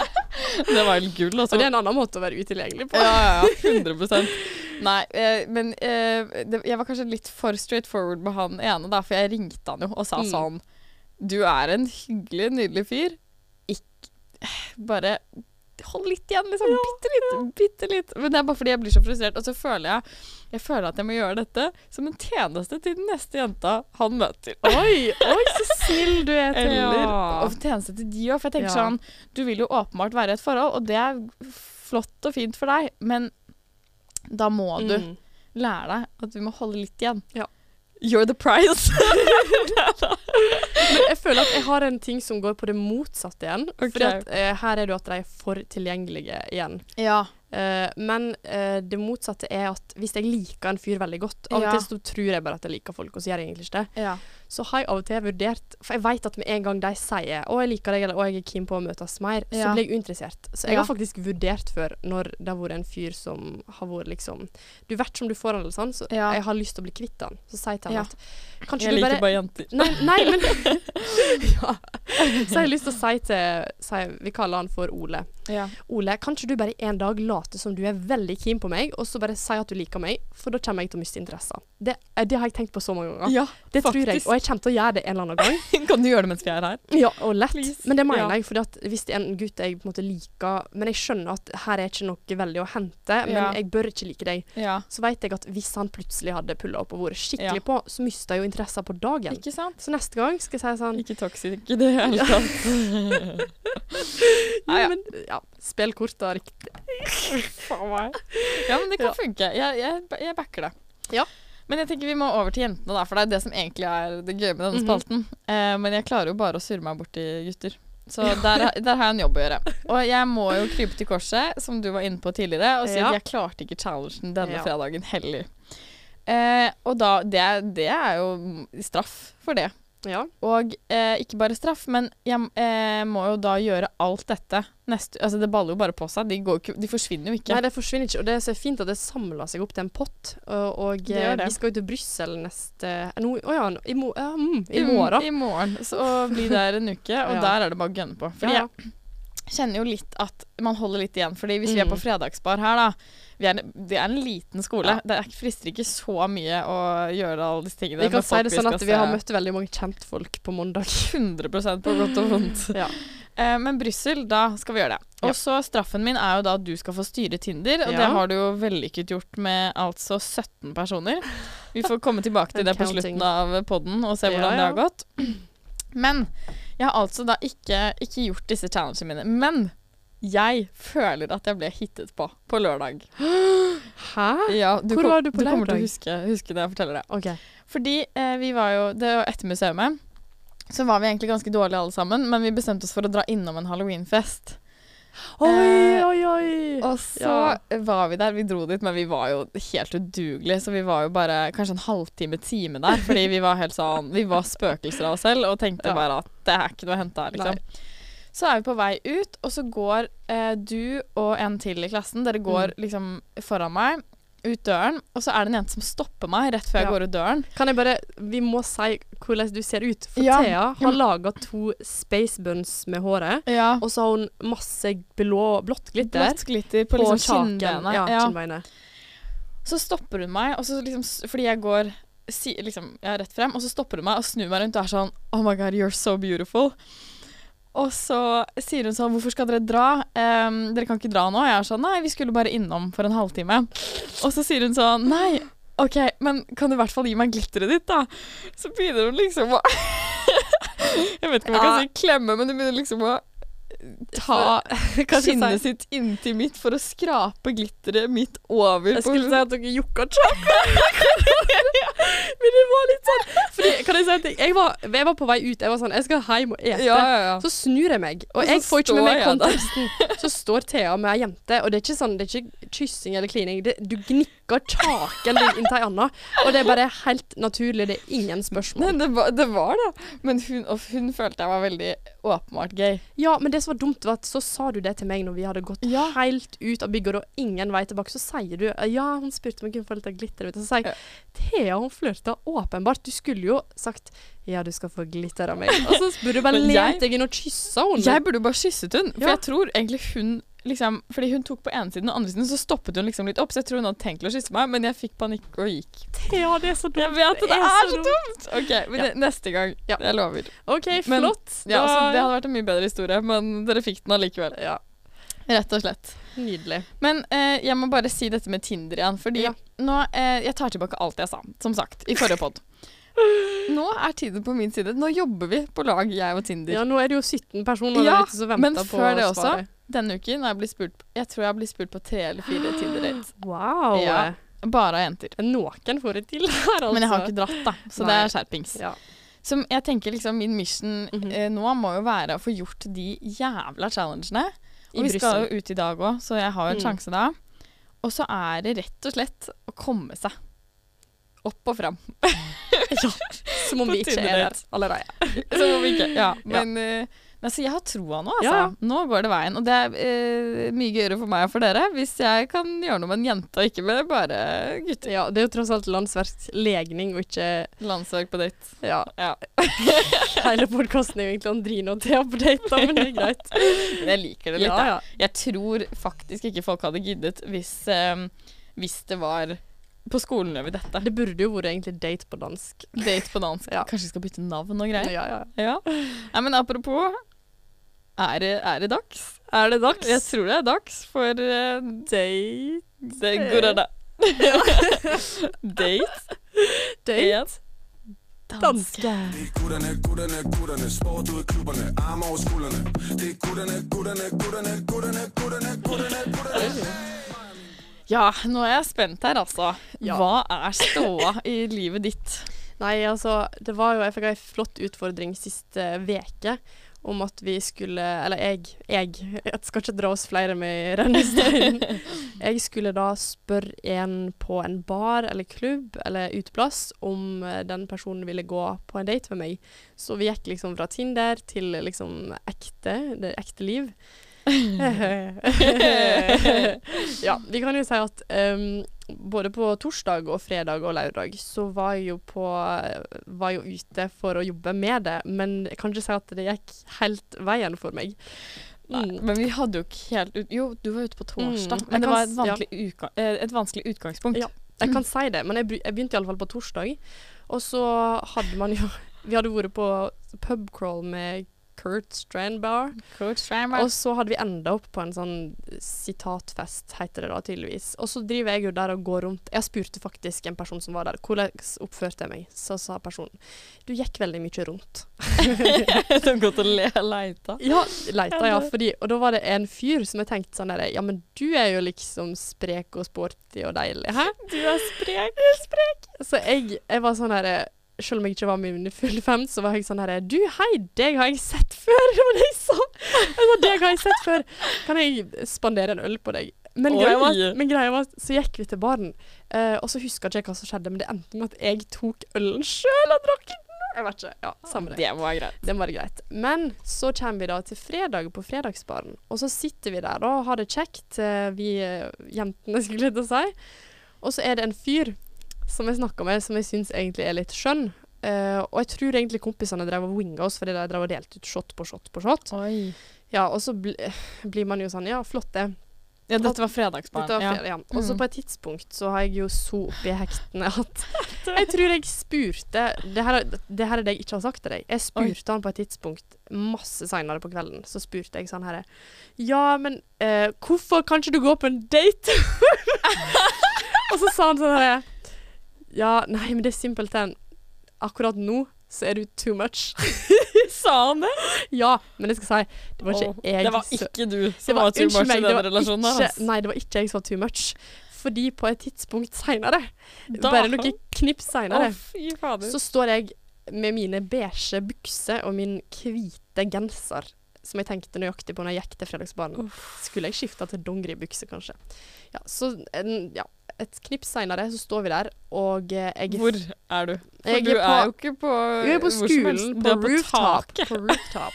det var helt gull, altså. Og det er en annen måte å være utilgjengelig på. Ja, ja, ja, 100 Nei, eh, men eh, det, jeg var kanskje litt for straight forward med han ene, da, for jeg ringte han jo og sa Mm. sånn Du er en hyggelig, nydelig fyr. Ikke Bare hold litt igjen, liksom. bitte litt. Bitte litt. Men det er bare fordi jeg blir så frustrert. Og så føler jeg Jeg føler at jeg må gjøre dette som en tjeneste til den neste jenta han møter. Oi, oi, så snill du er, Teller. Eller, Ja. og tjeneste til de òg. For jeg tenker Ja. sånn Du vil jo åpenbart være i et forhold, og det er flott og fint for deg, men da må du Mm. lære deg at du må holde litt igjen. Ja. You're the prize. Men jeg føler at jeg har en ting som går på det motsatte igjen. Ok. Fordi at eh, her er det jo at de er for tilgjengelige igjen. ja. Eh, men eh, det motsatte er at hvis jeg liker en fyr veldig godt Av og Ja. til så tror jeg bare at jeg liker folk, og så gjør jeg egentlig ikke det. ja. Så har jeg av og til vurdert For jeg vet at med en gang de sier 'Å, jeg liker deg', eller 'Å, jeg er keen på å møtes mer', så Ja. blir jeg uinteressert. Så jeg Ja. har faktisk vurdert før, når det har vært en fyr som har vært liksom Du vet som du får han eller sånn, så Ja. jeg har lyst til å bli kvitt han. Så sier jeg til han Ja. at kanskje Jeg du liker bare bare jenter. Nei, nei men ja. Så jeg har lyst til å si til si, Vi kaller han for Ole. Ja. Ole, kan ikke du bare en dag late som du er veldig keen på meg, og så bare si at du liker meg, for da kommer jeg til å miste interessen. Det, eh, det har jeg tenkt på så mange ganger. det tror jeg, faktisk. og jeg kommer til å gjøre det en eller annen gang. Kan du gjøre det mens vi er her? Ja, og lett. Please. Men det mener Ja. jeg, for hvis det er en gutt jeg på en måte liker Men jeg skjønner at her er ikke noe veldig å hente, men Ja. jeg bør ikke like deg. Ja. Så vet jeg at hvis han plutselig hadde pulla opp og vært Ja. skikkelig på, så mister jeg jo interessen på dagen. Ikke sant? Så neste gang skal jeg si sånn Ikke toxic i det hele tatt. Ja, Ja, ja. Men, ja, spill kort da, riktig. Ja, men det kan Ja. funke. Jeg, jeg, jeg backer det. Ja. Men jeg tenker vi må over til jentene, da, for det er det som egentlig er det gøye med denne Mhm. spalten. Eh, men jeg klarer jo bare å surre meg borti gutter. Så der, der har jeg en jobb å gjøre. Og jeg må jo krype til korset, som du var inne på tidligere, og si Ja. at jeg klarte ikke challengen denne Ja. fredagen heller. Eh, og da det, det er jo straff for det. Ja. Og eh, ikke bare straff, men jeg eh, må jo da gjøre alt dette neste Altså, det baller jo bare på seg. De, går, jo ikke- de forsvinner jo ikke. Nei, det forsvinner ikke. Og det er så fint at det samler seg opp til en pott. Og, og Det gjør eh, det. vi skal jo til Brussel neste Å ja, nå- i, mo ja mm, i Mm, morgen. I morgen. Så blir det her en uke, og Ja. der er det bare å gønne på. Fordi Ja. jeg kjenner jo litt at man holder litt igjen. Fordi hvis vi er på Mm. fredagsbar her, da vi er, Det er en liten skole. Ja. Det er, frister ikke så mye å gjøre alle disse tingene. Vi kan med si folk det sånn at skal vi har se. møtt veldig mange kjentfolk på mandag. 100 på godt og vondt. Ja. Eh, men Brussel, da skal vi gjøre det. Og Ja. så straffen min er jo da at du skal få styre Tinder, og Ja. det har du jo vellykket gjort med altså 17 personer. Vi får komme tilbake til And det på counting. slutten av podden og se Ja, hvordan det ja. har gått. Men jeg har altså da ikke, ikke gjort disse challengene mine. Men jeg føler at jeg ble hittet på på lørdag. Hæ? Ja, du Hvor kom- var du på Du kommer til lørdag? å huske, huske det jeg forteller det. OK. Fordi eh, vi var jo Det var etter museet. Så var vi egentlig ganske dårlige alle sammen, men vi bestemte oss for å dra innom en halloweenfest. Oi, oi, oi. Og så Ja. var vi der. Vi dro dit, men vi var jo helt udugelige. Så vi var jo bare kanskje en halvtime, time der. Fordi vi var helt sånn Vi var spøkelser av oss selv og tenkte Ja. bare at det er ikke noe å hente her, liksom. Så er vi på vei ut, og så går eh, du og en til i klassen Dere går liksom foran meg ut døren, og så er det en jente som stopper meg rett før jeg Ja. går ut døren. Kan jeg bare Vi må si hvordan du ser ut. For Ja. Thea har laga to space buns med håret, Ja. og så har hun masse blå, blått glitter. Blått glitter på, på liksom kjaken. kinnbenet. Ja, Ja. kinnbeinet. Så stopper hun meg, og så liksom, s- fordi jeg går si, liksom, ja, rett frem, og så stopper hun meg og snur meg rundt og er sånn Oh my God, you're so beautiful. Og så sier hun sånn Hvorfor skal dere dra? Ehm, dere kan ikke dra nå. Jeg er sånn Nei, vi skulle bare innom for en halvtime. Og så sier hun sånn Nei, OK, men kan du i hvert fall gi meg glitteret ditt, da? Så begynner hun liksom å Jeg vet ikke om jeg kan si klemme, men hun begynner liksom å ta Kanskje kinnet si- sitt inntil mitt for å skrape glitteret mitt over. Jeg skulle si at dere jokka kjapt. Men det var litt sånn Fordi, Kan jeg si en ting? Jeg var, jeg var på vei ut. Jeg var sånn Jeg skal hjem og ja, ete. ja, ja. Så snur jeg meg, og, Og så jeg får ikke med meg står konteksten. Så står Thea med ei jente, og det er ikke sånn, det er ikke kyssing eller klining. Det, du gnikker kjaken din inntil ei anna, og det er bare helt naturlig. Det er ingen Nei, spørsmål. det var det. Var det. Men hun, og hun følte jeg var veldig åpenbart gøy. Ja, men det som var dumt, var at så sa du det til meg når vi hadde gått Ja. helt ut av bygget, og det var ingen vei tilbake. Så sier du Ja, hun spurte om jeg kunne få litt av glitter. Og så sier jeg Thea, hun flørta åpenbart. Du skulle jo sagt Ja, du skal få glitter av meg. Og så burde du bare Men jeg- lent deg inn og kyssa henne. Jeg burde jo bare kysset hun, for Ja. jeg tror egentlig hun liksom, Fordi hun tok på ene siden, og andre siden så stoppet hun liksom litt opp, så jeg tror hun hadde tenkt å kysse meg, men jeg fikk panikk og gikk. Thea, det er så dumt. Jeg vet at det er så dumt. dumt! OK, men Ja. ne- neste gang. Ja. Jeg lover. OK, Men- flott. Ja, Da- altså, så det hadde vært en mye bedre historie, men dere fikk den allikevel. Ja. Rett og slett. Nydelig. Men eh, jeg må bare si dette med Tinder igjen, fordi Ja. nå eh, Jeg tar tilbake alt jeg sa, som sagt, i forrige pod. Nå er tiden på min side. Nå jobber vi på lag, jeg og Tinder. Ja, nå er det jo 17 personer der Ja, ute som venter Men på før det også, svaret. denne uken har jeg blitt spurt Jeg tror jeg har blitt spurt på tre eller fire Tinder-dates. Wow. Ja. Bare av jenter. Noen får det til her, altså. Men jeg har ikke dratt, da, så det Nei. er skjerpings. Ja. Som jeg tenker liksom Min mission Mhm. eh, nå må jo være å få gjort de jævla challengene. I Og vi skal Brussel. jo ut i dag òg, så jeg har jo en Mm. sjanse da. Og så er det rett og slett å komme seg opp og fram. Som om på vi ikke er der Tinder-date. allerede. Så om vi ikke Ja, men eh, nei, så jeg har troa nå, altså. Ja, ja. Nå går det veien. Og det er eh, mye gøyere for meg og for dere hvis jeg kan gjøre noe med en jente og ikke med bare gutter. Ja, det er jo tross alt landsverks legning og ikke Landsverk på date. Ja, Ja. hele podkasten er jo egentlig Andrine og Thea på date, da, men det er greit. Men jeg liker det litt, Ja, da. ja. Jeg tror faktisk ikke folk hadde giddet hvis, eh, hvis det var på skolen gjør vi dette. Det burde jo vært egentlig date på dansk. Date på dansk. Ja. Kanskje vi skal bytte navn og greier. Ja, ja. Ja. Nei, men apropos er det, er det dags? Er det dags? Jeg tror det er dags for eh, Date det går an, da. Date Date? igjen. Danske. Det er gutterne, gutterne, gutterne Sport ud i klubberne, arme over skuldrene Det er gutterne, gutterne, gutterne, gutterne, gutterne, gutterne, gutterne Ja, nå er jeg spent her, altså. Ja. Hva er ståa i livet ditt? Nei, altså, det var jo Jeg fikk ei flott utfordring siste veke om at vi skulle Eller jeg, jeg. Jeg skal ikke dra oss flere med i rennesteinen. Jeg skulle da spørre en på en bar eller klubb eller uteplass om eh, den personen ville gå på en date med meg. Så vi gikk liksom fra Tinder til liksom ekte, det ekte liv. ja, vi kan jo si at ehm, både på torsdag og fredag og lørdag så var jeg jo på Var jeg jo ute for å jobbe med det, men jeg kan ikke si at det gikk helt veien for meg. Nei, Mm. men vi hadde jo ikke helt ut... Jo, du var ute på torsdag, Mm, jeg men det var et kan s- vanskelig, uka... eh, et vanskelig utgangspunkt. Ja. Jeg kan si det, men jeg, bry- jeg begynte iallfall på torsdag. Og så hadde man jo Vi hadde vært på pubcrawl med Kurt Strandbar. Coach Reimer. Og så hadde vi enda opp på en sånn sitatfest, heter det da tydeligvis. Og så driver jeg jo der og går rundt. Jeg spurte faktisk en person som var der, hvordan oppførte jeg meg? Så sa personen, du gikk veldig mye rundt. Det er godt å le leita. Ja, leita ja, fordi, og da var det en fyr som jeg tenkte sånn der, ja, men du er jo liksom sprek og sporty og deilig, hæ? Du er sprek. Så jeg, jeg var sånn her Selv om jeg ikke var med mine fulle fem, så var jeg sånn her Du, hei, deg har jeg sett før! Det var det jeg sa. Jeg sa, deg har jeg sett før. Kan jeg spandere en øl på deg? Men Oi. greia, var, at- men greia var at så gikk vi til baren, eh, og så huska ikke jeg hva som skjedde, men det endte med at jeg tok ølen sjøl og drakk den. Jeg vet ikke. Ja, samme det. Det må være greit. Den var greit. Men så kommer vi da til fredag på fredagsbaren, og så sitter vi der da og har det kjekt, eh, vi eh, jentene skulle jeg til å si. Og så er det en fyr som jeg snakker med, som jeg syns egentlig er litt skjønn. Eh, og jeg tror egentlig kompisene drev og winga oss fordi de drev og delte ut shot på shot på shot. Oi. Ja, og så bli, blir man jo sånn Ja, flott det. Ja, dette var fredagsbarn. Dette var ja. flere, ja. Og så Mm. på et tidspunkt så har jeg jo så oppi hektene at Jeg tror jeg spurte Det her, er- det her er det jeg ikke har sagt til deg. Jeg spurte han på et tidspunkt masse seinere på kvelden. Så spurte jeg sånn herre Ja, men eh, hvorfor kan ikke du gå på en date? Og så sa han sånn herre Ja, nei, men det er simpelthen Akkurat nå så er du too much. Sa han det? Ja, men jeg skal si, det var ikke Åh, jeg det var som- ikke du Det som var too much i det den var relasjonen her. ikke- ass. Nei, det var ikke jeg som var too much. Fordi på et tidspunkt seinere, Da- bare noen knips Å, seinere, fy fader. så står jeg med mine beige bukser og min hvite genser, som jeg tenkte nøyaktig på når jeg gikk til Fredagsbaren. Skulle jeg skifta til dongeribukse, kanskje. Ja, så en, ja, et knips seinere så står vi der, og eh, jeg Hvor er du? For Jeg du er på- er jo ikke på Du er på hvor som helst. skolen, Du på er rooftop. taket. På rooftop.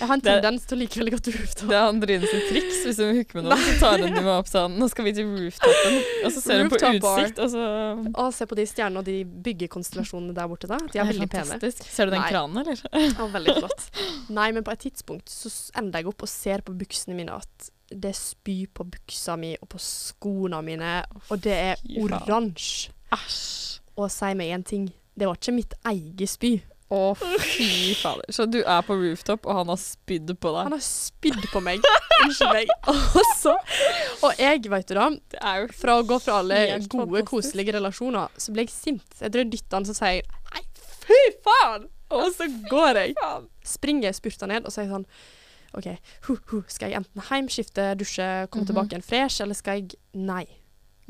Jeg har en Det- tendens til å like veldig godt rooftop. Det er Andrine sitt triks. Hvis hun hooker med noen, så tar hun dem opp sånn Nå skal vi til rooftopen. Og så ser hun på Rooftop bar. utsikt, og så Å, se på de stjernene og de byggekonstellasjonene der borte. da. De er veldig pene. Fantastisk. Ser du den Nei. kranen, eller? Og veldig flott. Nei, men på et tidspunkt så s- ender jeg opp og ser på buksene mine at det er spy på buksa mi og på skoene mine, og det er Fy faen. oransje. Æsj. Og si meg én ting, det var ikke mitt eget spy. Å, fy fader. Så du er på rooftop, og han har spydd på Han har deg. spydd på meg. Unnskyld meg. Og så Og jeg, veit du da, Det er jo fra å gå fra alle Helt gode, fantastisk. koselige relasjoner, så ble jeg sint. Jeg tror jeg dytta han som sier jeg, Nei, fy faen! Og så går jeg. Springer jeg spurter ned og så er jeg sånn OK, hu, hu, skal jeg enten hjem, skifte, dusje, komme Mhm. tilbake igjen fresh, eller skal jeg Nei.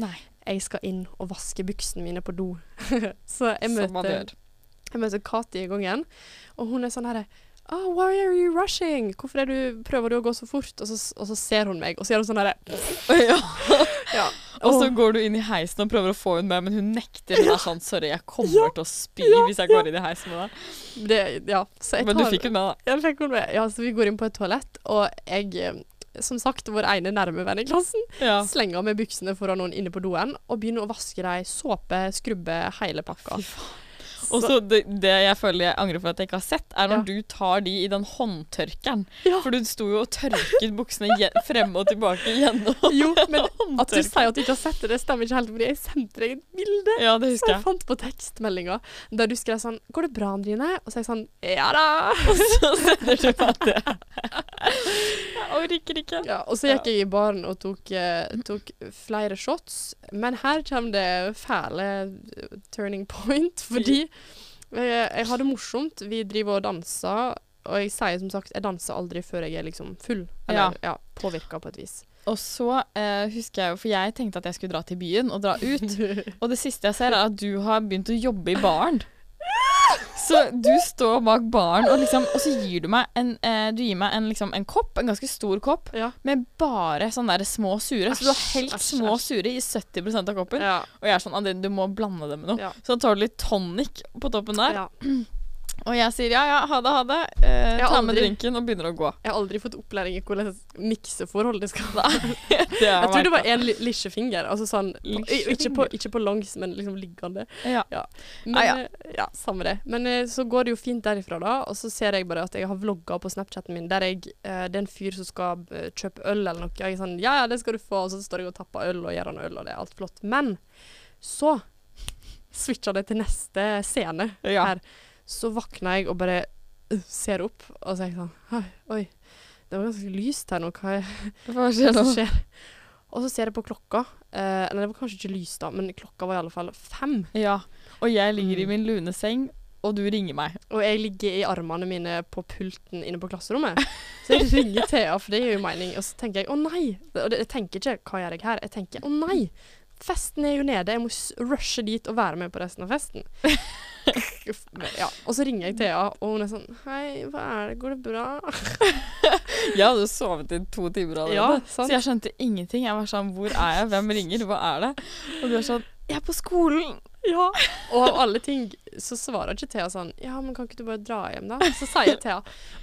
Nei. Jeg skal inn og vaske buksene mine på do. så jeg som man møter gjør. jeg møter Kati i gangen, og hun er sånn herre «Ah, why are you rushing? Hvorfor er du, prøver du å gå så fort? Og så, og så ser hun meg, og så gjør hun sånn herre Ja. ja. Og så Åh. går du inn i heisen og prøver å få henne med, men hun nekter. Hun er sånn Sorry, jeg kommer til å spy hvis jeg går inn i heisen med deg. det, ja. Så jeg Men du tar- fikk henne med, da. Jeg fikk henne med. Ja, så vi går inn på et toalett, og jeg, eh, som sagt, vår ene nærme venn i klassen, Ja. slenger med buksene foran noen inne på doen, og begynner å vaske dem, såpe, skrubbe, hele pakka. Og så det, det jeg føler jeg angrer for at jeg ikke har sett, er når Ja. du tar de i den håndtørkeren. Ja. For du sto jo og tørket buksene gje- frem og tilbake gjennom. Jo, men at du håndtørkeren. sier at du ikke har sett det, det stemmer ikke helt, fordi jeg sendte deg et bilde. Ja, det Så husker jeg jeg. fant på tekstmeldinga der du skrev sånn 'Går det bra, Andrine?' Og så er jeg sånn 'Ja da'. Så sender du meg det. Jeg orker ikke. Ja, og så gikk jeg i baren og tok, eh, tok flere shots. Men her kommer det fæle eh, turning point, fordi eh, jeg har det morsomt. Vi driver og danser, og jeg sier som sagt jeg danser aldri før jeg er liksom full. Ja. Eller ja, påvirka på et vis. Og så eh, husker jeg jo, for jeg tenkte at jeg skulle dra til byen og dra ut. Og det siste jeg ser, er at du har begynt å jobbe i baren. Så du står bak baren, og, liksom, og så gir du meg en, eh, du gir meg en, liksom, en kopp, en ganske stor kopp, Ja. med bare sånne der små sure. så du har Æsj, helt æsj, små æsj. sure i 70 av koppen. Ja. Og jeg er sånn Adeline, du må blande det med noe. Ja. Så da tar du litt tonic på toppen der. ja. Og jeg sier ja, ja, ha det, ha det. Eh, har ta med aldri- drinken og begynner å gå. Jeg har aldri fått opplæring i hvordan mikseforhold det skal være. Det Jeg er tror det meg. var én lisjefinger. Altså sånn på, Lisjefinger? ikke, på, ikke på langs, men liksom liggende. ja. Men, Ah, ja. eh, ja, samme det. Men eh, så går det jo fint derifra, da. Og så ser jeg bare at jeg har vlogga på Snapchaten min der jeg, eh, det er en fyr som skal eh, kjøpe øl eller noe. Jeg er sånn Ja, ja, det skal du få. Og så står jeg og tapper øl og gjør han øl, og det er alt flott. Men så switcha det til neste scene Ja. her. Så våkner jeg og bare øh, ser opp, og så er jeg sånn «Oi, Oi, det var ganske lyst her nå. Hva er Hva skjer hva nå? som skjer. Og så ser jeg på klokka. Eh, eller det var kanskje ikke lys da, men klokka var i alle fall fem. Ja. Og jeg ligger i Mm. min lune seng, og du ringer meg. Og jeg ligger i armene mine på pulten inne på klasserommet. Så jeg ringer Thea, for det gir jo mening. Og så tenker jeg å nei. Og det, jeg tenker ikke hva gjør jeg her? Jeg tenker å nei. Festen er jo nede, jeg må s- rushe dit og være med på resten av festen. Uff, men ja. Og så ringer jeg Thea, og hun er sånn Hei, hva er det, går det bra? Jeg hadde jo sovet i to timer allerede. Ja, sant. Så jeg skjønte ingenting. Jeg var sånn Hvor er jeg? Hvem ringer? Hva er det? Og du er sånn Jeg er på skolen! Ja. Og av alle ting så svarer ikke Thea sånn Ja, men kan ikke du bare dra hjem, da? Så sier Thea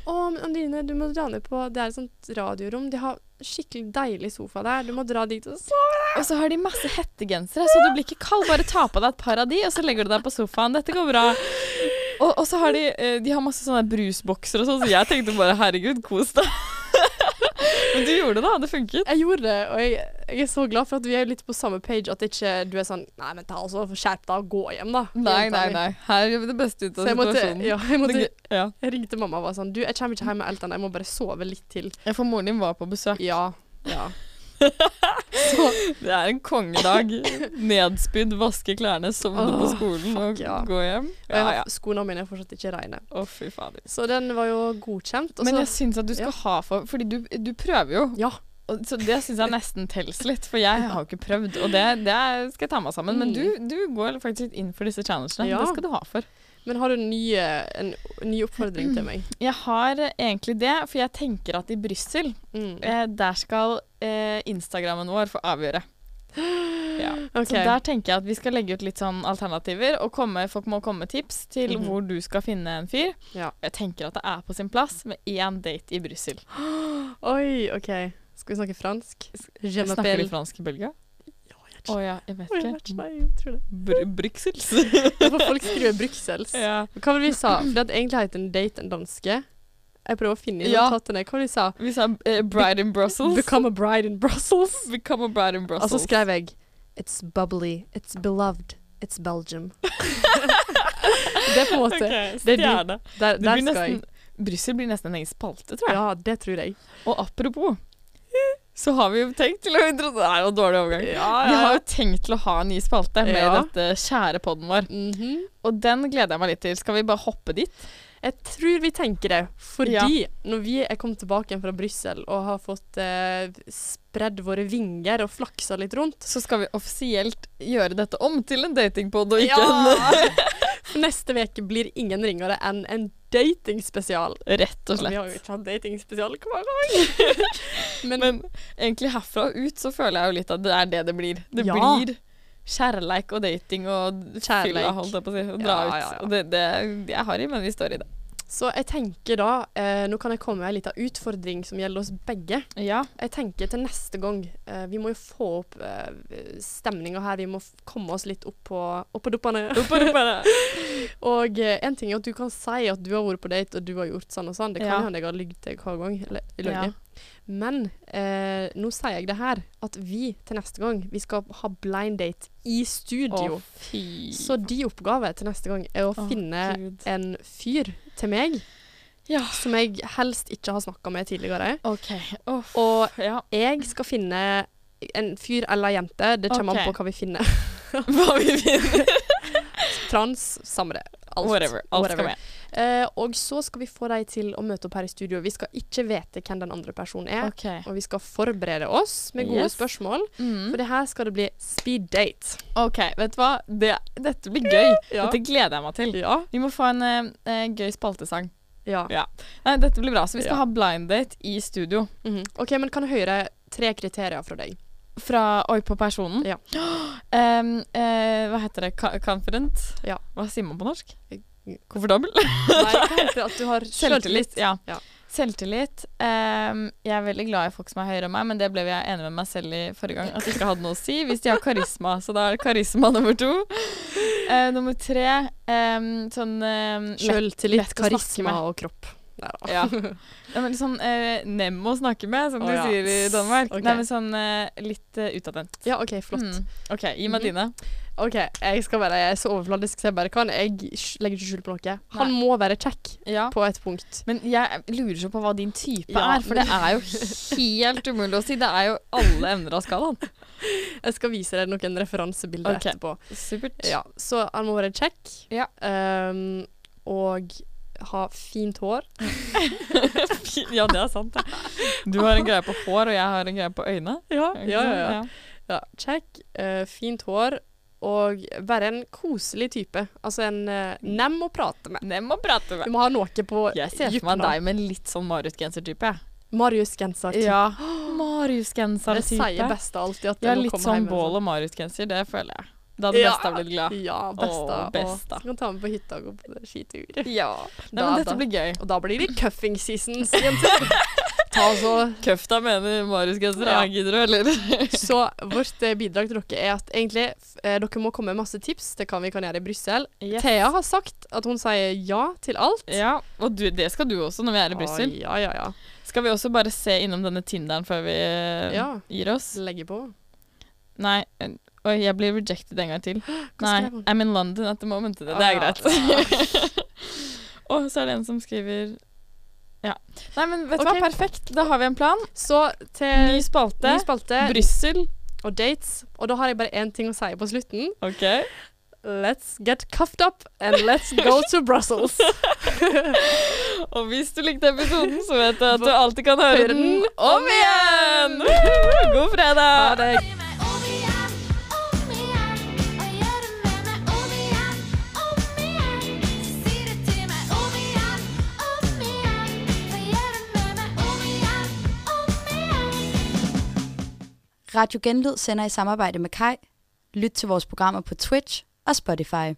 Å, men Andrine, du må dra ned på Det er et sånt radiorom. De har skikkelig deilig sofa der. Du må dra dit og sove. Og så har de masse hettegensere, så du blir ikke kald. Bare ta på deg et par av de, og så legger du deg på sofaen. Dette går bra. Og, og så har de, eh, de har masse sånne brusbokser og sånn, så jeg tenkte bare herregud, kos deg. Men du gjorde det, da. Det funket. Jeg gjorde det, og jeg, jeg er så glad for at vi er litt på samme page, at ikke du er sånn Nei, men ta altså, skjerp deg og gå hjem, da. Her gjør vi det beste ut Så jeg måtte, ja, jeg, måtte, ja. jeg ringte mamma og var sånn Du, jeg kommer ikke hjem med Elton, jeg må bare sove litt til. For moren din var på besøk. Ja. ja. Så det er en kongedag. Nedspydd, vaske klærne, sovne på Åh, skolen og fuck, ja. gå hjem. Og jeg Ja, har, ja. skoene mine er fortsatt ikke reine. Å, fy fader. Så den var jo godkjent. Og Men så, jeg syns at du skal ha for Fordi du, du prøver jo, ja, og så det syns jeg nesten tels litt. For jeg har jo ikke prøvd, og det, det skal jeg ta meg sammen. Men du, du går faktisk inn for disse challengene. Mm. Ja. Det skal du ha for. men har du en ny, eh, en ny oppfordring til meg? Jeg har eh, egentlig det, for jeg tenker at i Brussel, Mm. eh, der skal eh, Instagrammen vår få avgjøre. Ja. Ok. Så der tenker jeg at vi skal legge ut litt sånn alternativer, og komme, folk må komme med tips til Mhm. hvor du skal finne en fyr. Ja. Jeg tenker at det er på sin plass med én date i Brussel. Oi, OK. Skal vi snakke fransk? Je Snakker de m'appelle fransk i Belgia? Å ja, jeg vet Oi, jeg vet ikke. ikke, nei, jeg tror det. Br Bruxels. Hvorfor folk skriver Bruxelles? ja. Hva var det vi sa? For det hadde egentlig hett en date en danske. Jeg prøver å finne Ja. notatene. Hva var det vi sa? Vi sa eh, bride in Brussels. Become a bride in Brussels. Become a bride in Og Brussels. så skrev Altså, jeg It's bubbly, it's beloved, it's Belgium. det er på en måte Ok, det er de- stjerne. Der, Det der blir skal jeg. nesten, Brussel blir nesten en egen spalte, tror jeg. Ja, det tror jeg. Og apropos, så har vi jo tenkt til å intro... Det er jo en dårlig overgang. Ja, Vi har jo tenkt til å ha en ny spalte med Ja. dette kjære podden vår. Mhm. Og den gleder jeg meg litt til. Skal vi bare hoppe dit? Jeg tror vi tenker det, fordi når vi er kommet tilbake igjen fra Brussel og har fått eh, spredd våre vinger og flaksa litt rundt Så skal vi offisielt gjøre dette om til en datingpod og ikke For Neste uke blir ingen ringere enn en datingspesial. en Rett og Og Vi slett. har jo ikke hatt datingspesial hver gang. Men, Men egentlig herfra og ut så føler jeg jo litt at det er det det blir. Det Ja. blir kjærleik og dating og Kjærleik. fylla, holdt jeg på å si. Og dra Ja, ut. ja, ja. Og det, det, jeg er harry, men vi står i det. Så jeg tenker da eh, Nå kan jeg komme med en liten utfordring som gjelder oss begge. Ja. Jeg tenker til neste gang eh, Vi må jo få opp eh, stemninga her. Vi må f komme oss litt opp på, opp på duppene. Og eh, en ting er at du kan si at du har vært på date, og du har gjort sånn og sånn. Det kan Ja. jo hende jeg har lyvd til hver gang. Eller, Ja. løyet. Men eh, nå sier jeg det her, at vi til neste gang vi skal ha blind date i studio. Å, fy Så de oppgave til neste gang er å Å, finne Gud. en fyr til meg Ja. som jeg helst ikke har snakka med tidligere. OK. Uff. Og Ja. jeg skal finne en fyr eller jente. Det kommer Ok. an på hva vi finner. Hva vi vinner. Trans, samme det. Alt. Whatever. Alt Whatever. skal med. Eh, og så skal vi få deg til å møte opp her i studio. Vi skal ikke vite hvem den andre personen er. Og vi skal forberede oss med gode Yes. spørsmål. Mm. For det her skal det bli speed date. OK, vet du hva? Det, dette blir gøy. Ja. Dette gleder jeg meg til. Ja. Vi må få en eh, eh, gøy spaltesang. ja. Ja. Nei, dette blir bra. Så vi skal Ja. ha blind date i studio. Mhm. OK, men kan jeg høre tre kriterier fra deg? Fra Oi på personen. Ja. Em, eh, hva heter det? Ka- Confident? Ja. Hva sier man på norsk? Eh, Komfortabel? Nei, hva heter det? At du har Selvtillit. Ja. Ja. Selvtillit. Em, jeg er veldig glad i folk som er høyere enn meg, men det ble jeg enig med meg selv i forrige gang at det ikke hadde noe å si hvis de har karisma. Så da er det karisma nummer to. Eh, nummer tre em, sånn em, lett- Selvtillit, lett å snakke karisma med. og kropp. Nei da. Ja. Nei, men sånn eh, nem å snakke med, som Å, de ja. sier i Danmark. Ok. Nei, men sånn eh, litt eh, utadvendt. Ja, OK, flott. Mm. OK, gi Mhm. meg dine. OK, jeg skal være jeg er så overfladisk så jeg bare kan. Jeg sk- legger ikke skjul på noe. Han må være kjekk Ja. på et punkt. Men jeg lurer så på hva din type Ja, er, for det er jo helt umulig å si. Det er jo alle emner av skalaen. Jeg skal vise deg noen referansebilder Ok. etterpå. Supert. Ja, så han må være kjekk. Ja. ehm, og ha fint hår. Ja, det er sant. det. Du har en greie på hår, og jeg har en greie på øyne. Ja, Er det ikke ja, sånn? ja. ja. kjekk, eh, fint hår og være en koselig type. Altså en eh, nem å prate med. Nem å prate Du med. må ha noe på Jeg ser for meg deg med en litt sånn Marius-genser-type. jeg. Marius-genser. type. Ja. Det sier Marius-genser-type. besta alltid at Ja, jeg må litt komme sånn hjem med bål og Marius-genser, det føler jeg. Da hadde Ja. besta blitt glad. sånn. Ja, besta. Åh, besta. Og så kan ta med på hytta og gå på skitur. Ja. Nei, Da- men dette da- blir gøy. Og da blir det cuffing seasons, jenter. Ta altså Køfta mener Marius Genser. Ja. Ja. Gidder du, eller? Så vårt eh, bidrag til dere er at egentlig f- eh, dere må komme med masse tips til hva vi kan gjøre i Brussel. Yes. Thea har sagt at hun sier ja til alt. Ja, og du, det skal du også når vi er i Brussel. Å, Ja, ja, ja. Skal vi også bare se innom denne Tinderen før vi eh, Ja. gir oss? Legge på. Nei. en- Oi, jeg blir rejected en gang til. Nei, skrev hun? I'm in London at the moment. Det, det Å, er Ah, ja. greit. og så er det en som skriver Ja. Nei, men vet du Ok. hva, perfekt. Da har vi en plan. Så til Ny spalte. ny spalte. Brussel og dates. Og da har jeg bare én ting å si på slutten. OK? Let's get cuffed up and let's go to Brussels. Og hvis du likte episoden, så vet du at du alltid kan høre den om igjen! God fredag! Ha det. Gjør meg om igjen, om igjen. Og gjør det med meg om igjen, om igjen. Si det til meg om igjen, om igjen. Og gjør det med meg om igjen, om igjen. Radio Genlyd sender i samarbejde med Kai. Lyt til vores programmer på Twitch og Spotify.